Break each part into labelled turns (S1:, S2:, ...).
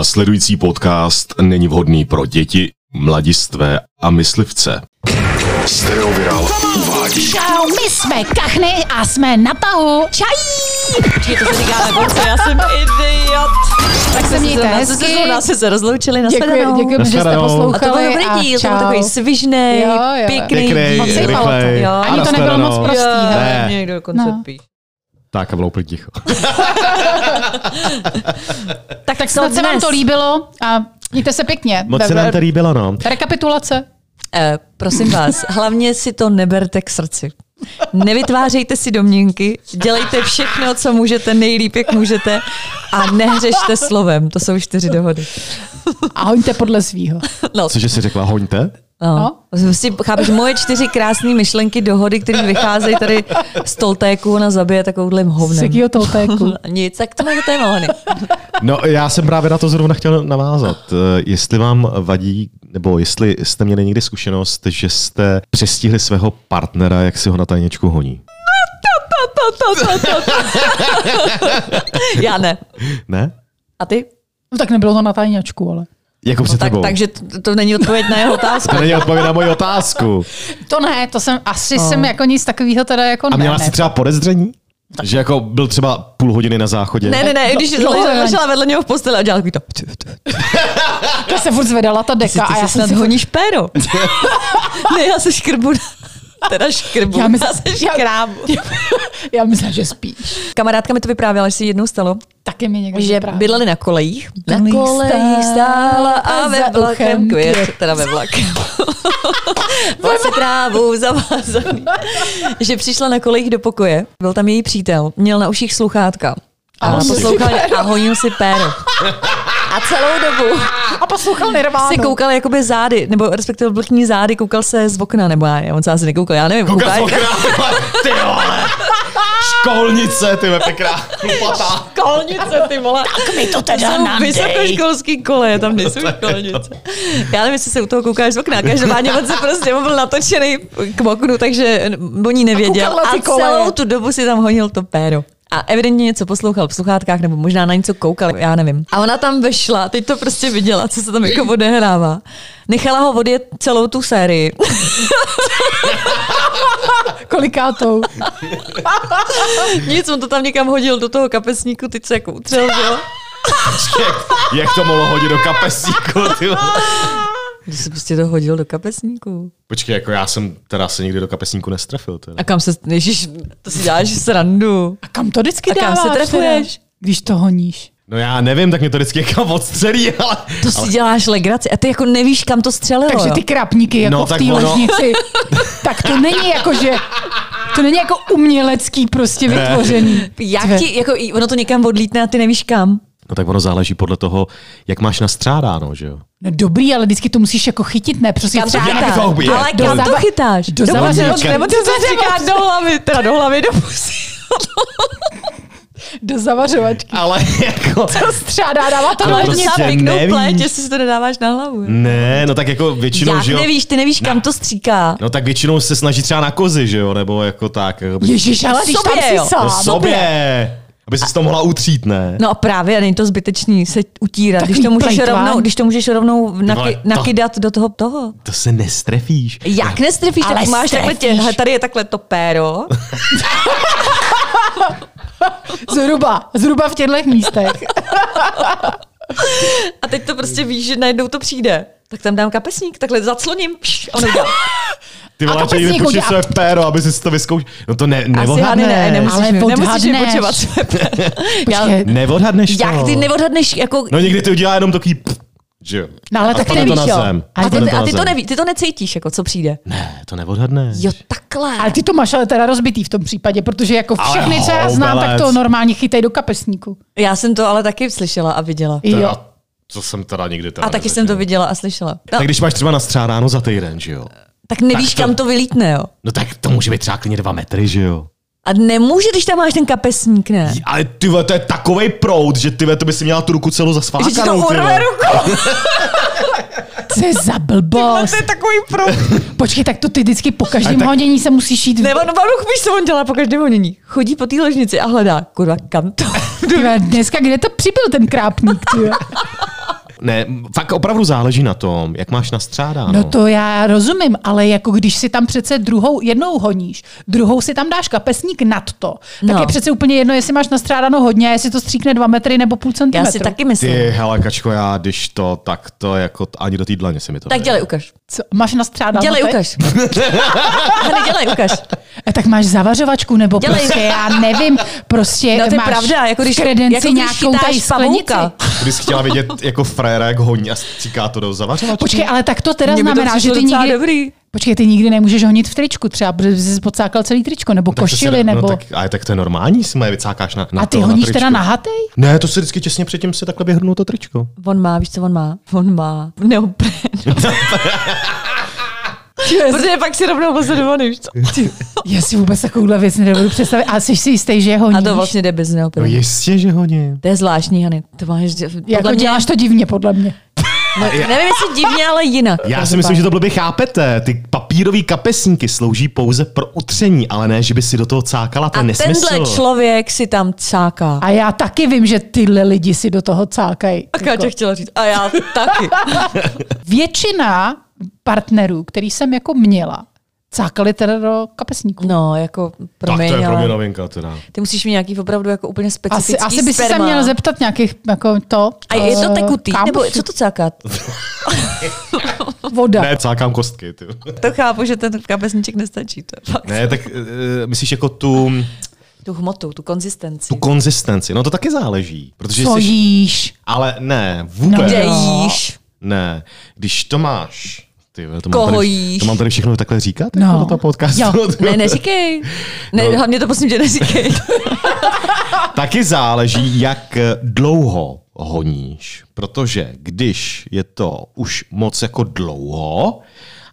S1: Následující podcast není vhodný pro děti, mladistvé a myslivce.
S2: Stereoviral uvádí.
S3: Čau, my jsme kachny a jsme na tahu. Čají!
S4: Počkej, to se říká na konci, já jsem idiot. Tak
S3: se mějte
S4: zrovna-
S3: hezky.
S4: Se zrovna se, se rozloučili, na
S3: Děkuji, děkujeme, že jste
S5: Nashledanou.
S4: A to byl
S3: poslouchali.
S4: dobrý díl, to
S3: čau.
S4: byl takový svižnej,
S3: Jo, jo.
S4: pěkný
S5: Pěkný,
S3: Moc se
S4: díl.
S3: jbalo to.
S5: rychlej.
S4: Jo.
S5: A
S3: Ani to nebylo
S5: nashledanou.
S3: moc prostý, hele.
S5: Ne.
S4: Někdo dokonce
S3: No.
S4: no.
S5: Tak a bylo úplně ticho.
S4: Tak,
S3: Tak snad se vám to líbilo a mějte se pěkně.
S5: Moc se nám to líbilo, no.
S3: Rekapitulace.
S4: Eh, prosím vás, hlavně si to neberte k srdci. Nevytvářejte si domněnky, dělejte všechno, co můžete, nejlíp, jak můžete a nehřešte slovem. To jsou čtyři dohody.
S3: A hoňte podle svýho.
S4: No,
S5: Cože jsi řekla, hoňte?
S4: No. Prostě chápeš, moje čtyři krásné myšlenky, dohody, které vycházejí tady z Toltéku, ona zabije takovouhle
S3: Z
S4: hovnem.
S3: jakýho toltéku.
S4: Nic, tak to máte téma, Hony.
S5: No, já jsem právě na to zrovna chtěl navázat. Eh, Jestli vám vadí, nebo jestli jste měli někdy zkušenost, že jste přestihli svého partnera, jak si ho na tajničku honí.
S4: Já ne.
S5: Ne?
S4: A ty?
S3: No tak nebylo to na tajňačku, ale.
S5: Jako před
S4: Tak,
S5: tebou.
S4: takže to, to není odpověď na jeho otázku.
S5: To není odpověď na moji otázku.
S3: To ne, to jsem, asi jsem jako nic takového teda jako
S5: A měla
S3: ne,
S5: jsi třeba podezření? Že jako byl třeba půl hodiny na záchodě.
S4: Ne, ne, ne, když
S3: No, dlouho ne.
S4: ležela vedle něho v posteli a dělala takový to. Ty, ty, ty,
S3: To se furt zvedala ta deka a
S4: ty
S3: já
S4: si
S3: jsem
S4: snad
S3: si
S4: honíš péro. ne, já se škrbu. Teda škrbu.
S3: Já
S4: Já,
S3: myslím-
S4: já se
S3: já-
S4: škrábu.
S3: Já myslím, že spíš.
S4: Kamarádka mi to vyprávěla, že si jednou stalo,
S3: Taky mi někdo
S4: že
S3: vyprávěl.
S4: bydleli na kolejích.
S3: Na kolejích stála a za uchem květ.
S4: teda ve vlakem. Vlace trávou zavázaný. že přišla na kolejích do pokoje, byl tam její přítel, měl na uších sluchátka. A,
S5: honil si
S4: poslouchal a honil si péro. A celou dobu
S3: A poslouchal Nirvánu.
S4: si koukal jakoby zády, nebo respektive byl k ní zády, koukal se z okna, nebo já, on se asi nekoukal, já nevím,
S5: Koukal
S4: koukal.
S5: jsem okrát, ty vole. Školnice, ty ve pekrá, chlupatá.
S4: Kolnice, ty vole. Tak mi to teda Jsou vysokoškolský koleje, tam nejsou kolnice. Já nevím, jestli se u toho koukáš z okna. Každopádně on se prostě on byl natočený k oknu, takže o ní
S3: A
S4: nevěděl.
S3: koukal na ty
S4: A
S3: koleje.
S4: celou tu dobu si tam honil to péro. A evidentně něco poslouchal v sluchátkách, nebo možná na něco koukal, já nevím. A ona tam vešla, teď to prostě viděla, co se tam jako odehrává. Nechala ho odjet celou tu sérii.
S3: Kolikátou.
S4: Nic, on to tam někam hodil do toho kapesníku, teď se jako utřel, že jo?
S5: Jak, jak to mohlo hodit do kapesníku, ty vole.
S4: Když se prostě to hodil do kapesníku.
S5: Počkej, jako já jsem teda se nikdy do kapesníku nestrefil. Teda.
S4: A kam se, ježiš, to si děláš srandu.
S3: A kam to vždycky
S4: A kam
S3: dáváš?
S4: se trefuješ?
S3: teda? Když to honíš.
S5: No já nevím, tak mě to vždycky někam odstřelí, ale...
S4: To si děláš legraci a ty jako nevíš, kam to střelilo.
S3: Takže
S4: jo?
S3: ty krapníky jako
S5: No,
S3: v
S5: tak
S3: té
S5: ono-
S3: ložnici, tak to není jako, že to není jako umělecký prostě vytvořený.
S4: Jak ti, jako, i- ono to někam odlítne a ty nevíš kam.
S5: No tak ono záleží podle toho, jak máš nastřádáno, že jo?
S3: No dobrý, ale vždycky to musíš jako chytit, ne? Prostě
S4: Kam to
S3: třeba
S4: chytáš?
S5: to je?
S4: Ale kam to
S3: zava-
S4: chytáš?
S3: do
S4: Do
S3: zavařenosti.
S4: pusy, Nebo ty
S3: Do
S4: to říká do hlavy, teda do hlavy, do pusy.
S3: do zavařovačky.
S5: Ale jako...
S3: To střádá, dává to
S5: To
S3: do
S4: Ale
S5: prostě
S4: docela
S3: lednice.
S4: pěknou
S5: nevíš.
S4: pleť, jestli si to nedáváš na hlavu. jo?
S5: Ne, no tak jako většinou,
S4: Jak
S5: že jo?
S4: nevíš, ty nevíš, kam to stříká.
S5: No tak většinou se snaží třeba na kozy, že jo? Nebo jako tak. Jako...
S3: Ježíš, ale když tam
S4: Sobě,
S3: jsi
S4: jo.
S3: sám.
S5: no sobě! Aby se to mohla utřít, ne?
S4: No a právě, a není to zbytečný se utírat,
S3: Takový
S4: když to, můžeš
S3: plejtván.
S4: rovnou, když to můžeš rovnou
S5: vole,
S4: naky,
S5: to-
S4: nakydat do toho toho.
S5: To se nestrefíš.
S4: Jak nestrefíš,
S3: Ale
S4: tak máš takhle tě,
S3: strefíš.
S4: hele, tady je takhle to péro.
S3: Zhruba, zhruba v těchto místech.
S4: A teď to prostě víš, že najednou to přijde. Tak tam dám kapesník, takhle zacloním. Pš, a ono udělá.
S5: Ty
S3: A
S5: vole,
S3: kapesník
S5: že jde počít
S3: udělá-
S5: své péro, aby si to vyzkoušel. No to ne,
S4: jako Asi hady ne,
S5: neodhadneš.
S4: nemusíš,
S3: Ale
S4: mi- nemusíš
S3: odhadneš.
S4: vypočovat své péro. Já,
S3: Počkej,
S5: Neodhadneš to.
S4: jak ty neodhadneš, jako...
S5: No někdy ty udělá jenom takový... pff, Že jo?
S3: No ale
S5: A
S3: tak ty
S5: spadne to
S3: nevíš,
S5: na
S3: jo.
S5: zem.
S3: A
S4: a,
S5: Spadne
S4: ty,
S5: na
S4: a ty to
S5: zem.
S4: neví, ty to necítíš, jako co přijde.
S5: Ne, to neodhadneš.
S4: Jo, takhle.
S3: Ale ty to máš ale teda rozbitý v tom případě, protože jako
S5: Ale
S3: všechny, co já znám, tak
S5: houbelec.
S3: to normálně chytej do kapesníku.
S4: Já jsem to ale taky slyšela a viděla.
S5: Teda,
S3: Jo.
S5: Co jsem teda nikdy teda
S4: A taky
S5: nezažil.
S4: jsem to viděla a slyšela. No,
S5: Tak když máš třeba nastřádáno za týden, že jo?
S4: tak nevíš,
S5: tak to-
S4: kam to vylítne, jo.
S5: No tak to může být třeba klidně dva metry, že jo?
S4: A nemůže, když tam máš ten kapesník, ne?
S5: Ale ty vole, to je takovej proud, že ty vole, to by si měla tu ruku celou zasvákanou.
S4: Že ti to
S5: ty vole.
S4: urve ruku.
S3: Co je za blbost?
S4: To je takový pro...
S3: Počkej, tak to ty vždycky po každém
S5: Ale tak-
S3: honění se musíš jít.
S4: Nebo no, Baruch, víš, co on dělá po každém honění? Chodí po té ložnici a hledá, kurva, kam to?
S3: Tyve, dneska kde to přibyl ten krápník? Tyve?
S5: Ne, fakt opravdu záleží na tom, jak máš nastřádáno.
S3: No to já rozumím, ale jako když si tam přece druhou, jednou honíš, druhou si tam dáš kapesník nad to, tak
S4: No.
S3: je přece úplně jedno, jestli máš nastrádáno hodně, a jestli to stříkne dva metry nebo půl
S4: Já
S3: centimetru.
S4: si taky myslím.
S5: Ty, hele, kačko, já když to, tak to jako t- ani do té dlaně se mi to
S4: Tak
S5: nejde.
S4: dělej, ukaž.
S3: Co, máš nastrádáno
S4: Dělej,
S3: teď?
S4: ukaž. Hany, dělej, ukaž.
S3: Eh, Tak máš zavařovačku, nebo
S4: Dělej.
S3: dělej. prostě já nevím, prostě
S4: No to je
S3: máš
S4: pravda, jako když-
S3: v kredenci
S4: jako když
S3: nějakou
S4: chytáš
S3: tady sklenici.
S4: pavouka.
S5: Kdybys chtěla vidět jako frajera, jak honí a stříká to do zavařovačky.
S3: Počkej, ale tak to teda
S4: Mně by to
S3: znamená, že
S4: přišlo
S3: ty
S4: docela
S3: nikdy...
S4: dobrý.
S3: Počkej, ty nikdy nemůžeš honit v tričku třeba, protože jsi podcákal celý tričko, nebo
S5: Tak to si
S3: košili,
S5: ne-
S3: nebo...
S5: No, tak, ale tak to je normální, si moje vycákáš na, na
S3: a ty
S5: to, na
S3: honíš teda
S5: tričku.
S3: nahatej?
S5: Ne, to si vždycky těsně předtím si takhle vyhrnu to tričko.
S4: On má, víš, co on má? On má neoprén. Protože pak si rovnou pozorovaný, víš co?
S3: Já si vůbec takovouhle věc nedovedu představit. A jsi si jistý, že je honíš?
S4: A to vlastně jde bez
S5: No
S4: neoprenu.
S5: jistě, že honím.
S4: To je zvláštní, Hany. To máš,
S3: Jako
S4: podle mě,
S3: děláš to divně, podle mě.
S4: no, nevím, jestli divně, ale jinak.
S5: Já si myslím, že to blbě chápete. Ty papírové kapesníky slouží pouze pro utření, ale ne, že by si do toho cákala, to
S4: A
S5: je nesmysl.
S4: tenhle člověk si tam cáká.
S3: A já taky vím, že tyhle lidi si do toho cákají. Jako
S4: A Káťa chtěla říct, a já taky.
S3: Většina partnerů, který jsem jako měla, cákali teda do kapesníků.
S4: No, jako
S5: tak to
S4: promiň,
S5: je pro mě
S4: ale
S5: novinka teda.
S4: ty musíš mít nějaký opravdu jako úplně
S3: Asi,
S4: specifický
S3: asi by si se
S4: sperma.
S3: měl zeptat nějakých, jako to.
S4: A je to
S3: eh,
S4: tekutý,
S3: kam?
S4: nebo co to cákat?
S3: Voda.
S5: Ne, cákám kostky. Ty.
S4: To chápu, že ten kapesníček nestačí. To je fakt.
S5: Ne, tak uh, myslíš jako tu,
S4: Tu hmotu, tu konzistenci.
S5: tu konzistenci. No to taky záleží. Protože
S3: Co
S5: jsi,
S3: jíš?
S5: ale ne, vůbec.
S3: No,
S4: Kde
S3: Jo.
S4: jíš?
S5: Ne, když to máš... Ty, vole, to,
S4: Koho
S5: mám tady,
S4: jíš?
S5: to mám tady všechno takhle říkat?
S3: No.
S5: Jako do toho podcastu.
S3: Jo.
S4: Ne, neříkej. Ne, no. hlavně to prosím tě neříkej.
S5: Taky záleží, jak eh, dlouho honíš, protože když je to už moc jako dlouho,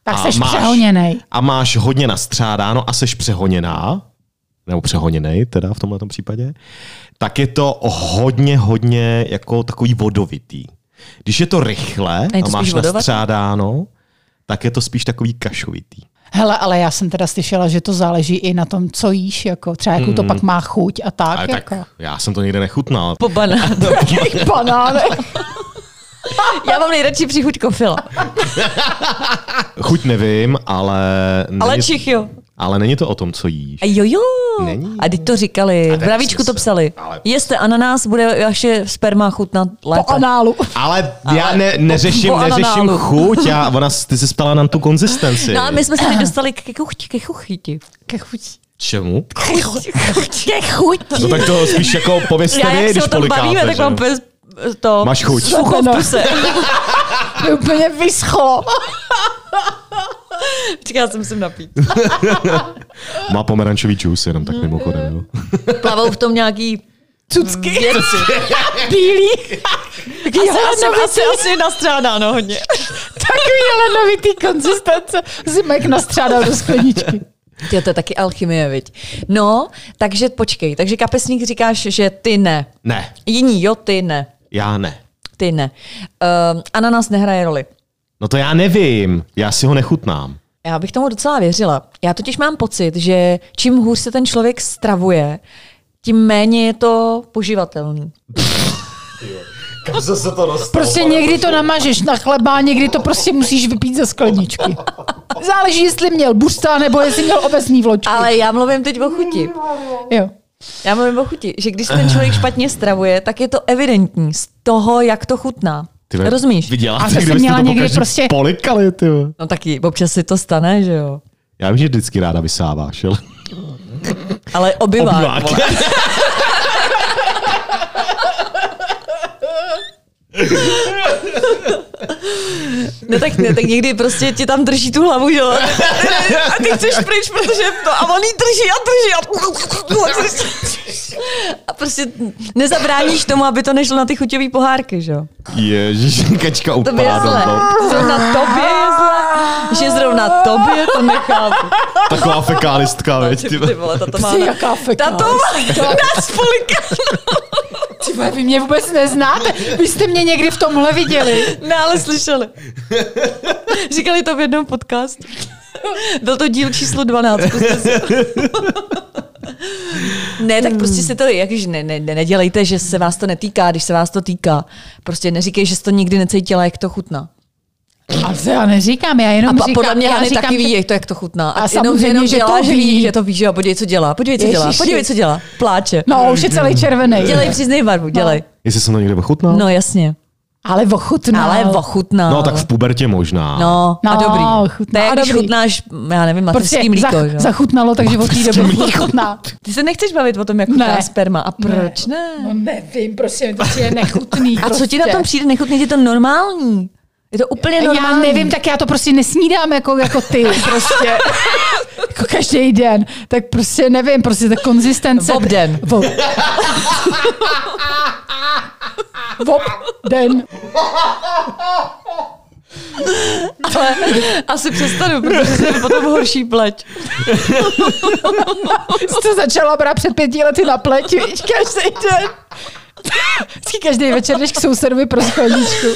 S3: Tak
S5: a
S3: seš přehoněnej.
S5: A máš hodně nastřádáno a seš přehoněná, nebo přehoněnej teda v tomhle případě, tak je to hodně, hodně jako takový vodovitý. Když je to rychle
S4: je to
S5: a
S4: spíš
S5: máš
S4: vodovatý?
S5: nastřádáno, tak je to spíš takový kašovitý.
S3: Hele, ale já jsem teda slyšela, že to záleží i na tom, co jíš, jako třeba jakou to pak má chuť a tak.
S5: Hmm. Ale tak
S3: jako.
S5: já jsem to nikde nechutnal.
S4: Po banánu.
S3: Banánek.
S4: Já mám nejradši příchuť kofila.
S5: Chuť nevím, ale...
S4: Ale
S5: není-
S4: čich, jo.
S5: Ale není to o tom, co jíš.
S4: A jo, jo.
S5: Není.
S4: A teď to říkali. V
S5: to je
S4: Bravíčku to
S5: smysl.
S4: psali.
S5: Ale-
S4: Jeste ananás, bude vaše sperma chutnat lépe.
S3: Po análu.
S5: Ale, já ne, neřeším,
S4: po
S5: neřeším
S4: ananálu.
S5: chuť, já, ona, ty se ptala na tu konzistenci.
S4: No a my jsme se teď dostali ke kuchti, ke chuchyti.
S3: Ke chuť.
S5: Čemu?
S4: Ke chuti.
S5: No tak to spíš jako pověste
S4: Já
S5: vy,
S4: jak se
S5: když
S4: o tom
S5: polikáte.
S4: bavíme, tak
S5: že?
S4: mám bez to...
S5: Máš chuť.
S4: Sucho v puse.
S3: Mě úplně vyschlo.
S4: Říkala jsem si napít.
S5: Má pomerančový džus jenom tak mimochodem. Jo.
S4: Plavou v tom nějaký
S3: Cucky.
S4: věci.
S3: Bílý.
S4: Asi,
S3: Já
S4: asi,
S3: nevím.
S4: asi, asi nastrádá, no hodně.
S3: Takový helenovitý konzistence. Zimek nastřádal do skleničky.
S4: Ty, to je taky alchymie, viď. No, takže počkej, takže kapesník říkáš, že ty ne.
S5: Ne,
S4: Jiní, jo, ty ne.
S5: já ne.
S4: Ty ne. Uh, ananas nehraje roli.
S5: No to já nevím, já si ho nechutnám.
S4: Já bych tomu docela věřila. Já totiž mám pocit, že čím hůř se ten člověk stravuje, tím méně je to poživatelný.
S5: Kam se to dostalo?
S3: Prostě někdy to namažeš na chleba, někdy to prostě musíš vypít ze skleničky. Záleží, jestli měl busta, nebo jestli měl obecní vločky.
S4: Ale já mluvím teď o chuti.
S3: Jo.
S4: Já mluvím o chuti, že když se ten člověk špatně stravuje, tak je to evidentní z toho, jak to chutná. Rozumíš?
S5: Viděla
S3: A
S5: jsi,
S3: to jsem
S5: kdybyste
S3: měla
S5: po
S3: někdy
S5: každý
S3: prostě-
S5: Polikali, ty. jo.
S4: No taky, občas si to stane, že jo.
S5: Já vím, že vždycky ráda vysáváš, ale...
S4: Ale obyvá.
S5: Obývák.
S4: No tak, ne, tak někdy prostě ti tam drží tu hlavu, že jo. A ty chceš pryč, protože to, a on jí drží a drží a... A prostě nezabráníš tomu, aby to nešlo na ty chuťové pohárky, že jo.
S5: Ježíš, kačka
S4: To by je zle.
S5: upadla.
S4: Zrovna tobě je zle. Že zrovna tobě to nechápu.
S5: Taková fekálistka, veď. ty vole.
S4: Ty vole, tato má...
S3: Jsi jaká fekálistka.
S4: Tato má nás poliká.
S3: Ty vole, vy mě vůbec neznáte. Vy jste mě někdy v tomhle viděli.
S4: Ne, ale slyšeli. Říkali to v jednom podcastu. Byl to díl číslo 12. Prostě si... Ne, tak prostě si to, jakž ne, ne, ne, nedělejte, že se vás to netýká, když se vás to týká. Prostě neříkej, že jsi to nikdy necítila, jak to chutná.
S3: A to já neříkám, já jenom
S4: A pa-
S3: říkám,
S4: podle mě
S3: já
S4: Hany
S3: říkám,
S4: taky ví,
S3: že-
S4: jak to, jak to chutná.
S3: A
S4: jenom-
S3: samozřejmě,
S4: jenom
S3: že
S4: dělá,
S3: to
S4: že
S3: ví.
S4: ví, že to ví, že jo, podívej, co dělá, podívej, co dělá,
S3: Ježiši.
S4: podívej, co dělá, pláče.
S3: No, už je celý červený.
S4: Dělej, přiznej barvu, dělej.
S5: Jestli jsem to někde ochutnal?
S4: No jasně,
S3: Ale ochutnal.
S4: ale ochutná.
S5: no tak v pubertě možná.
S4: No,
S3: No,
S4: a dobrý.
S3: chutná.
S4: to je,
S3: A
S4: jak když
S3: dobrý.
S4: chutnáš, já nevím,
S3: Prostě
S4: mateřský mlíko.
S3: zach-
S4: že jo?
S3: zachutnalo, takže od té doby ochutná.
S4: Ty se nechceš bavit o tom, jak chutná
S3: Ne.
S4: sperma. A proč ne?
S3: No nevím, prostě mi to přijde nechutný.
S4: A co ti na
S3: prostě.
S4: tom přijde nechutně? Je to normální. Je to úplně
S3: Já
S4: normální.
S3: nevím, tak já to prostě nesnídám jako, jako ty, prostě. jako každý den. Tak prostě nevím, prostě ta konzistence.
S4: Bob den.
S3: Bob. Bob den.
S4: Ale asi přestanu, protože jsem potom horší pleť.
S3: Jsi to začala brát před pěti lety na pleť, víš, každý den. Vždycky každý večer jdeš k sousedovi pro skleničku.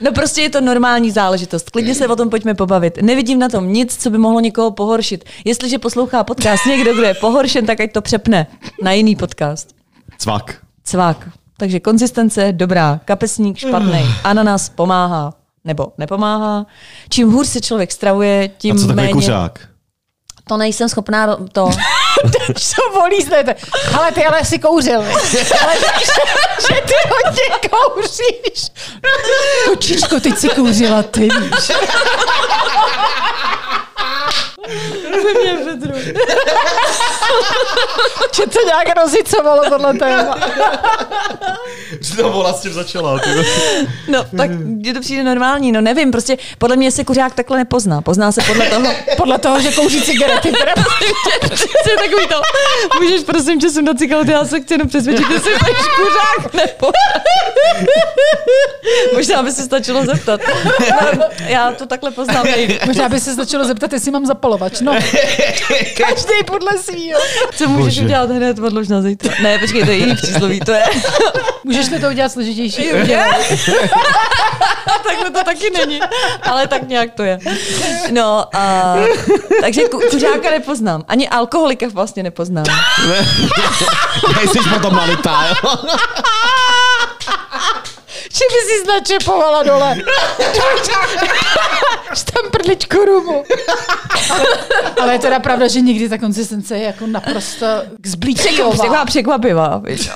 S4: No prostě je to normální záležitost. Klidně se o tom pojďme pobavit. Nevidím na tom nic, co by mohlo někoho pohoršit. Jestliže poslouchá podcast někdo, kdo je pohoršen, tak ať to přepne na jiný podcast.
S5: Cvak.
S4: Cvák. Takže konzistence dobrá, kapesník špatný, ananas pomáhá nebo nepomáhá. Čím hůř se člověk stravuje, tím
S5: A co takový
S4: méně...
S5: kuřák?
S4: To nejsem schopná ro- to.
S3: Co volí, znete? Ale ty ale si kouřil. Ale víš, že ty hodně kouříš. Kočičko, teď si kouřila ty, víš. Že to nějak rozicovalo tohle téma.
S5: To vola s tím začala.
S4: No, tak je to přijde normální, no nevím, prostě podle mě se kuřák takhle nepozná. Pozná se podle toho,
S3: Podle toho, že kouří cigarety. Teda
S4: co je takový to. Můžeš prosím tě sundat cigaretu, já se chci jenom přesvědčit, jestli jsi kuřák nebo... Možná by se stačilo zeptat. No, já to takhle poznám. nejlíp.
S3: Možná by se začalo zeptat, jestli mám zapalovač. No, každý podle svýho.
S4: Co můžeš
S5: Bože.
S4: udělat hned, odlož na zítra. Ne, počkej, to je jiný přísloví, to je.
S3: Můžeš to udělat složitější?
S4: Takhle to taky není, ale tak nějak to je. No, a, takže ku, kuřáka nepoznám. Ani alkoholika vlastně nepoznám.
S5: Nejsi potom nalitá, jo?
S3: Že by si značepovala dole. Že tam prdličku rumu. Ale, ale je teda pravda, že někdy ta konzistence je jako naprosto k
S4: prostě Taková
S3: zblíčková.
S4: překvapivá. víš.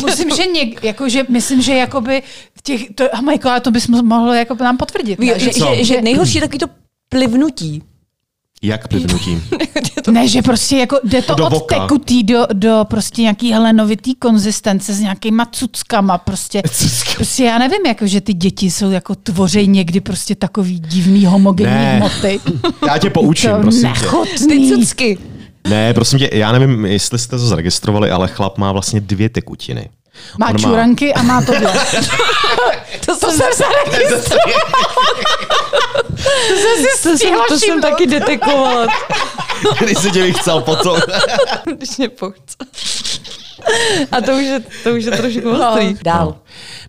S3: Musím, že něk, jakože, myslím, že jakoby v těch, to, a Majko, ale to bys mohlo jako nám potvrdit.
S4: Ví,
S3: Ne,
S4: že,
S3: že,
S4: že, že nejhorší je takový to plivnutí.
S5: Jak plivnutím?
S3: ne, že prostě jako jde to
S5: Do
S3: od
S5: voka.
S3: tekutý do, do prostě nějaký helenovitý konzistence s nějakýma cuckama. Prostě, prostě já nevím, jako, že ty děti jsou jako tvořej někdy prostě takový divný homogenní
S5: Ne.
S3: hmoty.
S5: Já tě poučím,
S3: to
S5: prosím tě.
S4: Ty
S3: nechutný.
S4: cucky.
S5: Ne, prosím tě, já nevím, jestli jste to zaregistrovali, ale chlap má vlastně dvě tekutiny.
S3: Má
S5: On
S3: čuranky a má tohle.
S4: To, to,
S3: jsem zaregistrovala. to jsem si
S4: to, jsem,
S3: stihla
S4: to jsem
S3: všimnout.
S4: taky detekovala,
S5: Když se tě bych chcel potom.
S4: když mě pochce. A to už je, to už je trošku ostrý. Dál.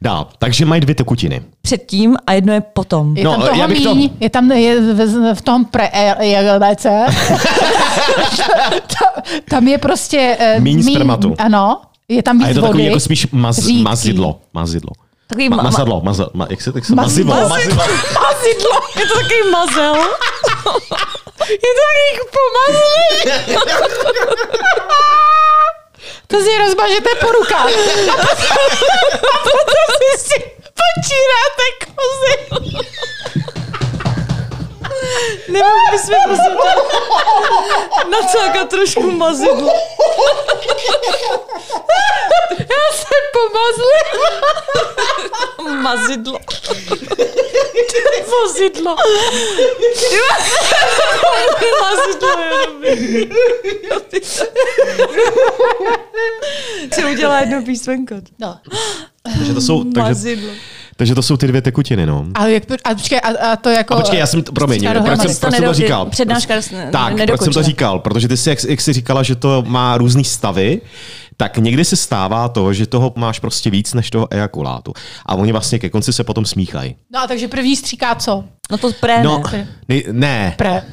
S5: Dál. Takže mají dvě tekutiny.
S4: Předtím a jedno je potom.
S3: Je
S5: No,
S3: tam toho
S5: já bych to-
S3: míň, je tam je v, v tom pre e- ELC. tam, e- tam je prostě... eh,
S5: Míň spermatu.
S3: Ano, je tam víc
S5: A je to
S3: vody.
S5: takový jako spíš maz,
S3: Řídký.
S5: mazidlo. Mazidlo.
S4: Takový
S5: Ma,
S4: ma-
S5: mazadlo, maza, ma, jak se tak se
S3: Maz-
S5: mazivo,
S3: maz-
S5: mazivo.
S4: mazidlo. Je to takový mazel. Je to takový pomazlý.
S3: To si rozmažete po rukách. A potom si si počíráte kozy.
S4: Nebo bychom prostě to nacákat trošku mazidlo.
S3: Já se pomazlím.
S4: Mazidlo. Vozidlo. Mazidlo je dobrý. Co udělá jedno písmenko?
S3: No.
S5: Takže to jsou, takže,
S4: Mazidlo.
S5: takže to jsou ty dvě tekutiny, no.
S3: Ale jak, a, počkej, a, a to jako...
S5: A počkej, já jsem to, promiň,
S3: Dneska
S5: proč
S3: dohromady.
S5: jsem,
S4: Jsi to
S5: proč jsem to
S4: nedo-
S5: říkal?
S4: přednáška
S5: Proč- Tak,
S4: ne-
S5: proč jsem to
S4: nedokončila.
S5: říkal? Protože ty jsi, jak, jak jsi říkala, že to má různý stavy, tak někdy se stává to, že toho máš prostě víc než toho ejakulátu. A oni vlastně ke konci se potom smíchají.
S3: No a takže první stříká co?
S4: No to pré
S5: No,
S4: no.
S5: ne, ne
S3: Pre.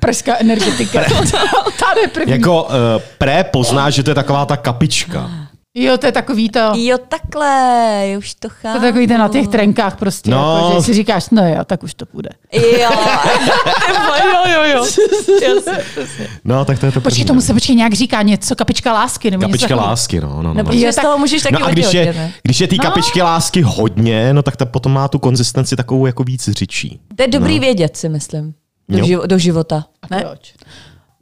S3: prská energetika. Ta je první.
S5: Jako uh, pré pozná, že to je taková ta kapička.
S3: Jo, to je takový to...
S4: Jo, takhle, už to chápu.
S3: To je takový ten na těch trenkách prostě,
S5: No.
S3: jako, že si říkáš, no jo, tak už to půjde.
S4: Jo. jo, jo, jo. Jasně.
S5: No, tak to je to
S3: Počkej,
S5: první.
S3: tomu se počkej nějak říká něco, kapička lásky. Nebo něco
S5: Kapička
S3: takového.
S5: lásky, no, no, no.
S4: Nebo
S5: no.
S4: že
S3: Jo,
S4: z
S3: tak-
S4: toho můžeš taky
S5: No a
S4: hodně
S5: když
S4: odjet,
S5: je,
S4: ne? No.
S5: když je té kapičky lásky hodně, no tak ta potom má tu konzistenci takovou jako víc řičí.
S4: To je dobrý vědět, si myslím.
S5: No.
S4: Do,
S5: Jo.
S4: živo, do života. Ne?
S3: Proč?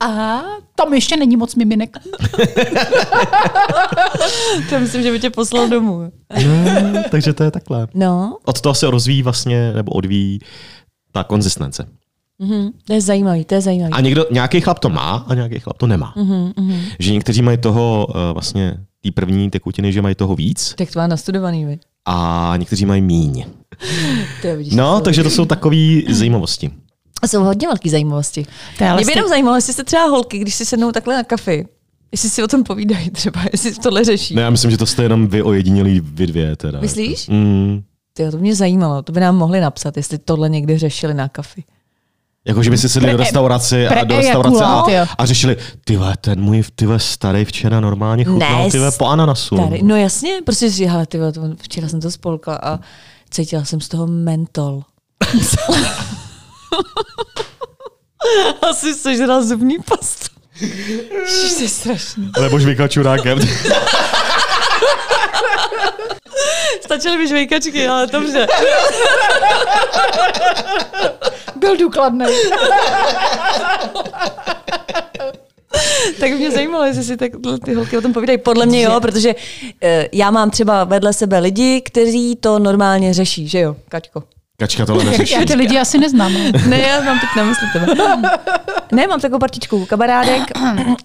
S3: Aha, tam ještě není moc miminek.
S4: To myslím, že by tě poslal domů.
S5: No, takže to je takhle.
S4: No,
S5: Od toho se rozvíjí vlastně, nebo odvíjí ta konzistence.
S4: to je zajímavý, to je zajímavý.
S5: A někdo, nějaký chlap to má a nějaký chlap to nemá.
S3: Mhm,
S5: Mm-hmm, Že někteří mají toho eh, vlastně té první tekutiny, že mají toho víc
S4: Tak to má nastudovaný, vy.
S5: a někteří mají míň.
S4: To je, vidíš, to
S5: No,
S4: jsou-
S5: takže to jsou takové zajímavosti.
S4: jsou hodně velký zajímavosti.
S3: To je ale
S4: Mě by
S3: stejný.
S4: jenom zajímalo, jestli se třeba holky, když si sednou takhle na kafi, jestli si o tom povídají třeba, jestli tohle řeší.
S5: Ne, No, já myslím, že to jste jenom vy ojedinělí vy dvě teda.
S4: Myslíš?
S5: Mm,
S4: Tyjo, to mě zajímalo, to by nám mohli napsat, jestli tohle někdy řešili na kafi.
S5: jako, že by si sedli do restauraci a
S3: pre-
S5: do restaurace a,
S3: ejakulát, jo.
S5: a řešili, ty vole, ten můj ty vole, starý včera normálně chutnal
S4: Ne,
S5: ty vole, po ananasu.
S4: Tady, no jasně, prostě si říká, hele, ty, vole, to- včera jsem to spolkla a cítila jsem z toho mentol. Asi sežral zubní pastu. Ježiš, to je strašný.
S5: Nebo žvykal čurákem.
S4: Stačily by žvejkačky, ale dobře.
S3: Byl důkladný.
S4: Tak mě zajímalo, jestli si tak ty holky o tom povídají. Podle mě jo, protože eh, já mám třeba vedle sebe lidi, kteří to normálně řeší, že jo, Kačko?
S5: Kačka tohle neřeší.
S3: Já ty lidi asi neznám.
S4: Ne, já mám teď na mysli tebe. Ne, mám takovou partičku kamarádek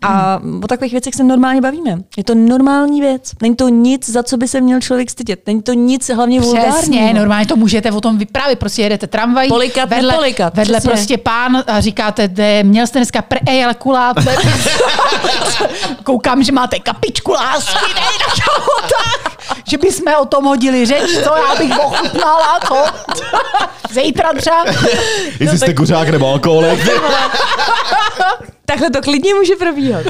S4: a o takových věcech se normálně bavíme. Je to normální věc. Není to nic, za co by se měl člověk stydět. Není to nic hlavně
S3: Přesně,
S4: vulgárního.
S3: normálně to můžete o tom vyprávět. Prostě jedete tramvají,
S4: Polikat,
S3: vedle,
S4: nepolikat,
S3: vedle
S4: přesně.
S3: prostě pán a říkáte, "De, měl jste dneska preejakulát. Koukám, že máte kapičku lásky, ne, no, tak. Že bychom o tom hodili řeč, co já bych ochutnala, co? Zítra třeba.
S4: No
S5: Jestli jste kuřák nebo alkoholik.
S4: Takhle to klidně může probíhat.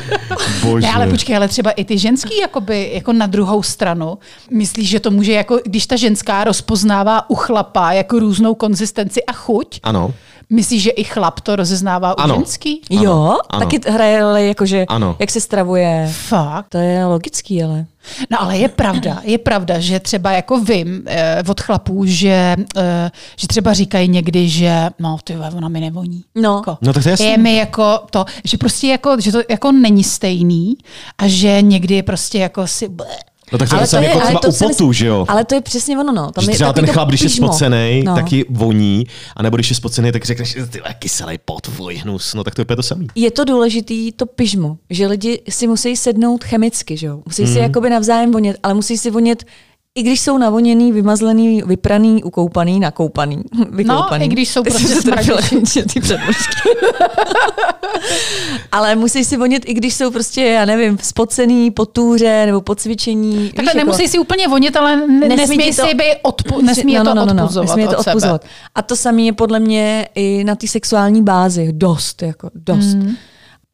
S5: Bože.
S3: Ne, ale počkej, ale třeba i ty ženský, jakoby, jako na druhou stranu, myslíš, že to může, jako, když ta ženská rozpoznává u chlapa jako různou konzistenci a chuť,
S5: Ano.
S3: myslíš, že i chlap to rozeznává u
S5: Ano.
S3: ženský?
S5: Ano,
S4: jo,
S5: ano.
S4: taky hraje, ale jakože,
S5: Ano.
S4: jak se stravuje.
S3: Fakt.
S4: To je logický, ale.
S3: No ale je pravda, je pravda, že třeba jako vím eh, od chlapů, že, eh, že třeba říkají někdy, že no ty vole, ona mi nevoní.
S4: No.
S3: Jako,
S5: No, tak to je jasný.
S3: je mi jako to, že prostě jako, že to jako není stejný a že někdy je prostě jako si...
S5: No tak to je
S4: ale
S5: to samé
S4: je-
S5: jako
S4: ale
S5: třeba
S4: to
S5: u
S4: jsem-
S5: potu, že jo?
S4: Ale to je přesně ono, no. Tam
S5: Když
S4: je
S5: třeba
S4: takový
S5: ten
S4: to
S5: chlap, když je
S4: pyžmo.
S5: spocený,
S4: No.
S5: no. taky voní, anebo když je spocený, tak řekneš, ty vole, kyselý pot, fuj, hnus, no tak to je úplně to samý.
S4: je to důležitý to pyžmo, že lidi si musí sednout chemicky, že jo? Musí
S5: Mhm.
S4: si jakoby navzájem vonět, ale musí si vonět i když jsou navoněný, vymazlený, vypraný, ukoupaný, nakoupaný, vykoupaný.
S3: No, i když jsou
S4: Ty jsi
S3: prostě
S4: se trefila
S3: smradící.
S4: konečně ty předložky. Ale musí si vonět, i když jsou prostě, já nevím, spocený po túře nebo po cvičení.
S3: Takhle
S4: Víš,
S3: nemusí
S4: jako-
S3: si úplně vonit, ale ne-
S4: Nesmí
S3: nesmí,
S4: ti to-
S3: si být odpu, nesmí
S4: no,
S3: je to odpuzovat
S4: nesmí je to
S3: od sebe.
S4: odpuzovat. A to samé je podle mě i na té sexuální bázi. Dost, jako dost. Mm.
S3: Hmm.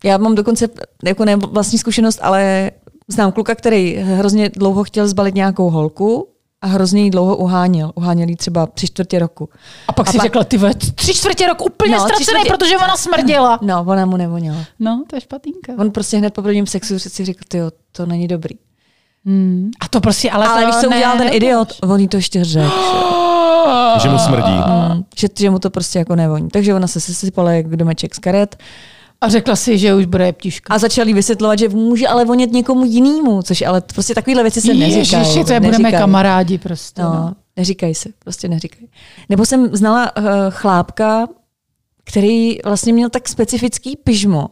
S4: Já mám dokonce, jako ne vlastní zkušenost, ale znám kluka, který hrozně dlouho chtěl zbalit nějakou holku a hrozně ji dlouho uháněl. Uháněl ji třeba tři čtvrtě roku.
S3: A pak si řekla, ty vole, tři čtvrtě rok úplně
S4: No,
S3: no,
S4: tři
S3: ztracený,
S4: čtvrtě-
S3: protože ona smrdila.
S4: No, ona mu nevoněla.
S3: No, to je špatínka.
S4: On prostě hned po prvním sexu si řekl, ty to není dobrý.
S3: A to prostě, ale,
S4: Mm. Ale
S3: to
S4: když to
S3: ne,
S4: udělal ten
S3: neuděláš.
S4: idiot, on jí to ještě řekl. Oh.
S5: Že mu smrdí.
S4: Mm, Že, že mu to prostě jako nevoní. Takže ona se sesypala jak domeček z karet.
S3: A řekla si, že už bude jeptiška.
S4: A začali vysvětlovat, že může ale vonět někomu jinému, což ale prostě takovéhle věci se neříkají.
S3: Ježiši, to je budeme
S4: neříkají.
S3: kamarádi prostě. No.
S4: No, neříkají se, prostě neříkají. Nebo jsem znala uh, chlápka, který vlastně měl tak specifický pyžmo,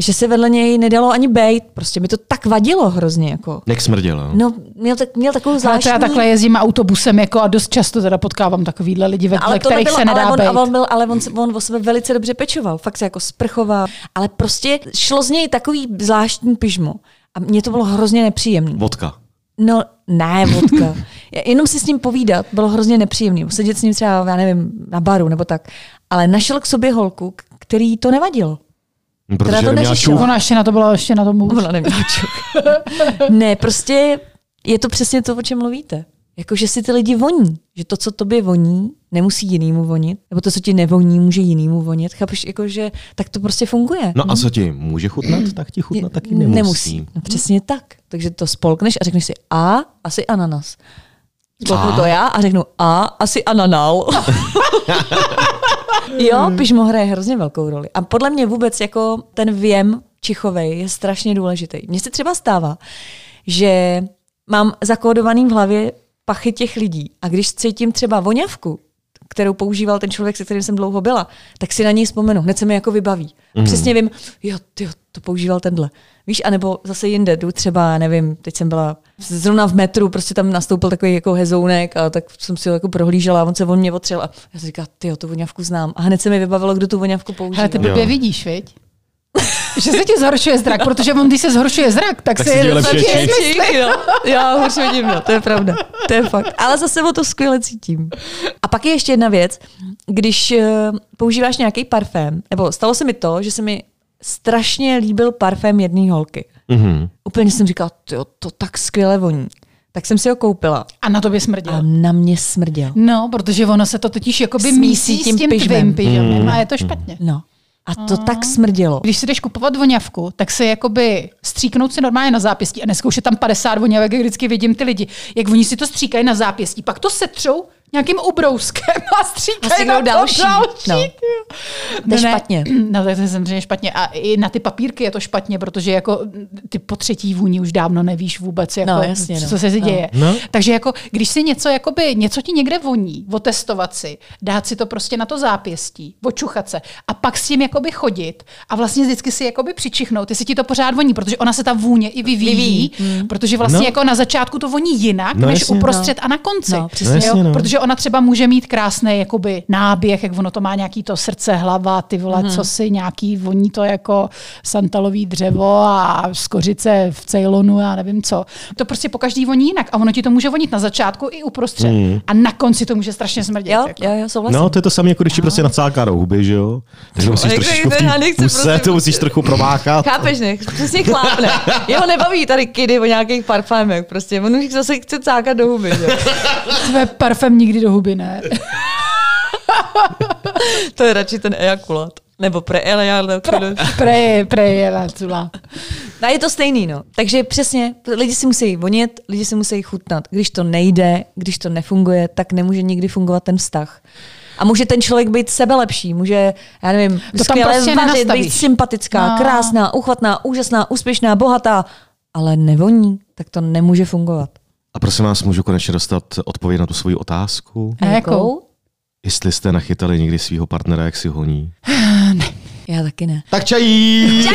S4: že se vedle něj nedalo ani bejt. Prostě mi to tak vadilo hrozně. Jako.
S5: Jak smrděl, no.
S4: No, měl, tak, měl takovou
S3: Ale to
S4: zvláštní...
S3: já takhle jezdím autobusem jako a dost často teda potkávám takovýhle lidi, ve, ve
S4: tohle
S3: kterých se
S4: bylo-
S3: nedá
S4: No, ale on,
S3: být.
S4: ale on, byl, ale on, se- on o sebe velice dobře pečoval, fakt se jako sprchoval, ale prostě šlo z něj takový zvláštní pyžmo. A mně to bylo hrozně nepříjemné.
S5: Vodka.
S4: No, ne, vodka. Já- Jenom si s ním povídat bylo hrozně nepříjemný. Sedět s ním třeba, já nevím, na baru nebo tak. Ale našel k sobě holku, k- který to nevadilo.
S5: Protože
S4: to
S5: neměla
S4: neřešila.
S5: čuch.
S3: Ona ještě na to byla ještě na tom hůř.
S4: Ona neměla čuk. ne, prostě je to přesně to, o čem mluvíte. Jako, že si ty lidi voní. Že to, co tobě voní, nemusí jinýmu vonit. Nebo to, co ti nevoní, může jinýmu vonit. Chápeš, jako, že tak to prostě funguje.
S5: No a co ti může chutnat, tak ti chutnat taky nemusí.
S4: Mm. nemusí. No, přesně tak. Takže to spolkneš a řekneš si a, asi ananas. Spolknu
S5: A?
S4: to já a řeknu a, asi ananál. jo, pižmo hraje hrozně velkou roli. A podle mě vůbec jako ten věm čichovej je strašně důležitý. Mně se třeba stává, že mám zakódovaný v hlavě pachy těch lidí a když cítím třeba voňavku, kterou používal ten člověk, se kterým jsem dlouho byla, tak si na něj vzpomenu. Hned se mi jako vybaví. Mm. Přesně vím, jo, ty to používal tenhle. Víš, anebo zase jinde jdu třeba, nevím, teď jsem byla zrovna v metru, prostě tam nastoupil takový jako hezounek a tak jsem si ho jako prohlížela a on se on mě otřel a já jsem říkala, ty tu voňavku znám. A hned se mi vybavilo, kdo tu voňavku používá.
S3: Ale ty blbě
S5: Jo.
S3: vidíš, viď? že se ti zhoršuje zrak, protože on, když se zhoršuje zrak, tak,
S5: Tak
S3: se
S5: se ti lepší
S3: lepší
S5: číst.
S3: smysl.
S4: jo. Já už vidím, no, to je pravda. To je fakt. Ale zase o to skvěle cítím. A pak je ještě jedna věc. Když eh, používáš nějaký parfém, nebo stalo se mi to, že se mi strašně líbil parfém jedné holky.
S5: Mhm.
S4: Úplně jsem říkala, jo, to tak skvěle voní. Tak jsem si ho koupila
S3: A na tobě
S4: a
S3: smrdil.
S4: na mě smrděl.
S3: No, protože ono se to totiž jakoby
S4: Smísí
S3: mísí
S4: tím
S3: s tím
S4: pyžmem.
S3: tvým pyžamem a je to špatně.
S4: No. A to tak smrdělo.
S3: Když si jdeš kupovat voňavku, tak se jakoby stříknout si normálně na zápěstí a dneska už je tam 50 voňavek, jak vždycky vidím ty lidi, jak oni si to stříkají na zápěstí, pak to setřou nějakým obrouskem a
S4: A
S3: stříkají
S4: stříknou
S3: na to
S4: Vlastně další.
S3: další.
S4: No.
S3: jo.
S4: To je špatně.
S3: No to je samozřejmě špatně. A i na ty papírky je to špatně, protože jako ty po třetí vůni už dávno nevíš vůbec, jako,
S4: No, jasně, no.
S3: co se
S4: No.
S3: děje.
S5: No.
S3: Takže jako, když si něco, jakoby, něco ti někde voní, otestovat si, dát si to prostě na to zápěstí, očuchat se a pak s tím jakoby chodit a vlastně vždycky si jakoby přičichnout, jestli ti to pořád voní, protože ona se ta vůně i vyvíjí,
S4: Vyvíjí,
S3: protože vlastně
S5: No.
S3: jako na začátku to voní jinak,
S5: No,
S3: než
S5: jasně, no.
S3: uprostřed a na konci.
S4: No, přesně.
S5: No, jasně, no.
S3: Protože ona třeba může mít krásný jakoby náběh, jak ono to má nějaký to srdce, hlava, ty vole,
S4: Mhm.
S3: co si nějaký, voní to jako santalový dřevo a skořice v Ceylonu a nevím co. To prostě po každý voní jinak a ono ti to může vonit na začátku i uprostřed a na konci to může strašně smrdět.
S4: Jo,
S3: jako.
S4: jo, jo, souhlasím.
S5: No, to je to samé, jako když ti prostě nacáká do huby, že jo? Takže musíš
S4: Nechci-
S5: trošičku v
S4: jako já nechci, prostě
S5: té puse,
S4: prosím.
S5: to musíš trochu promákat.
S4: Chápeš, ne? Přesně chlápne. Jeho nebaví tady kidy o nějakých parfémech. Prostě on už zase chce cákat do huby. Že?
S3: Tvé parfém nikdy do huby ne.
S4: To je radši ten ejakulat. Nebo pre
S3: Prej, prej, Lacula.
S4: A je to stejný, no. Takže přesně, lidi si musí vonět, lidi si musí chutnat. Když to nejde, když to nefunguje, tak nemůže nikdy fungovat ten vztah. A může ten člověk být sebelepší, může, já nevím,
S3: tam
S4: skvěle
S3: prostě
S4: vařit,
S3: nenastavíš.
S4: být sympatická,
S3: No.
S4: krásná, uchvatná, úžasná, úspěšná, bohatá, ale nevoní, tak to nemůže fungovat.
S5: A prosím vás, můžu konečně dostat odpověď na tu svoji otázku?
S3: A jakou?
S5: Jestli jste nachytali někdy svého partnera, jak si honí?
S4: Já taky ne.
S5: Tak čají!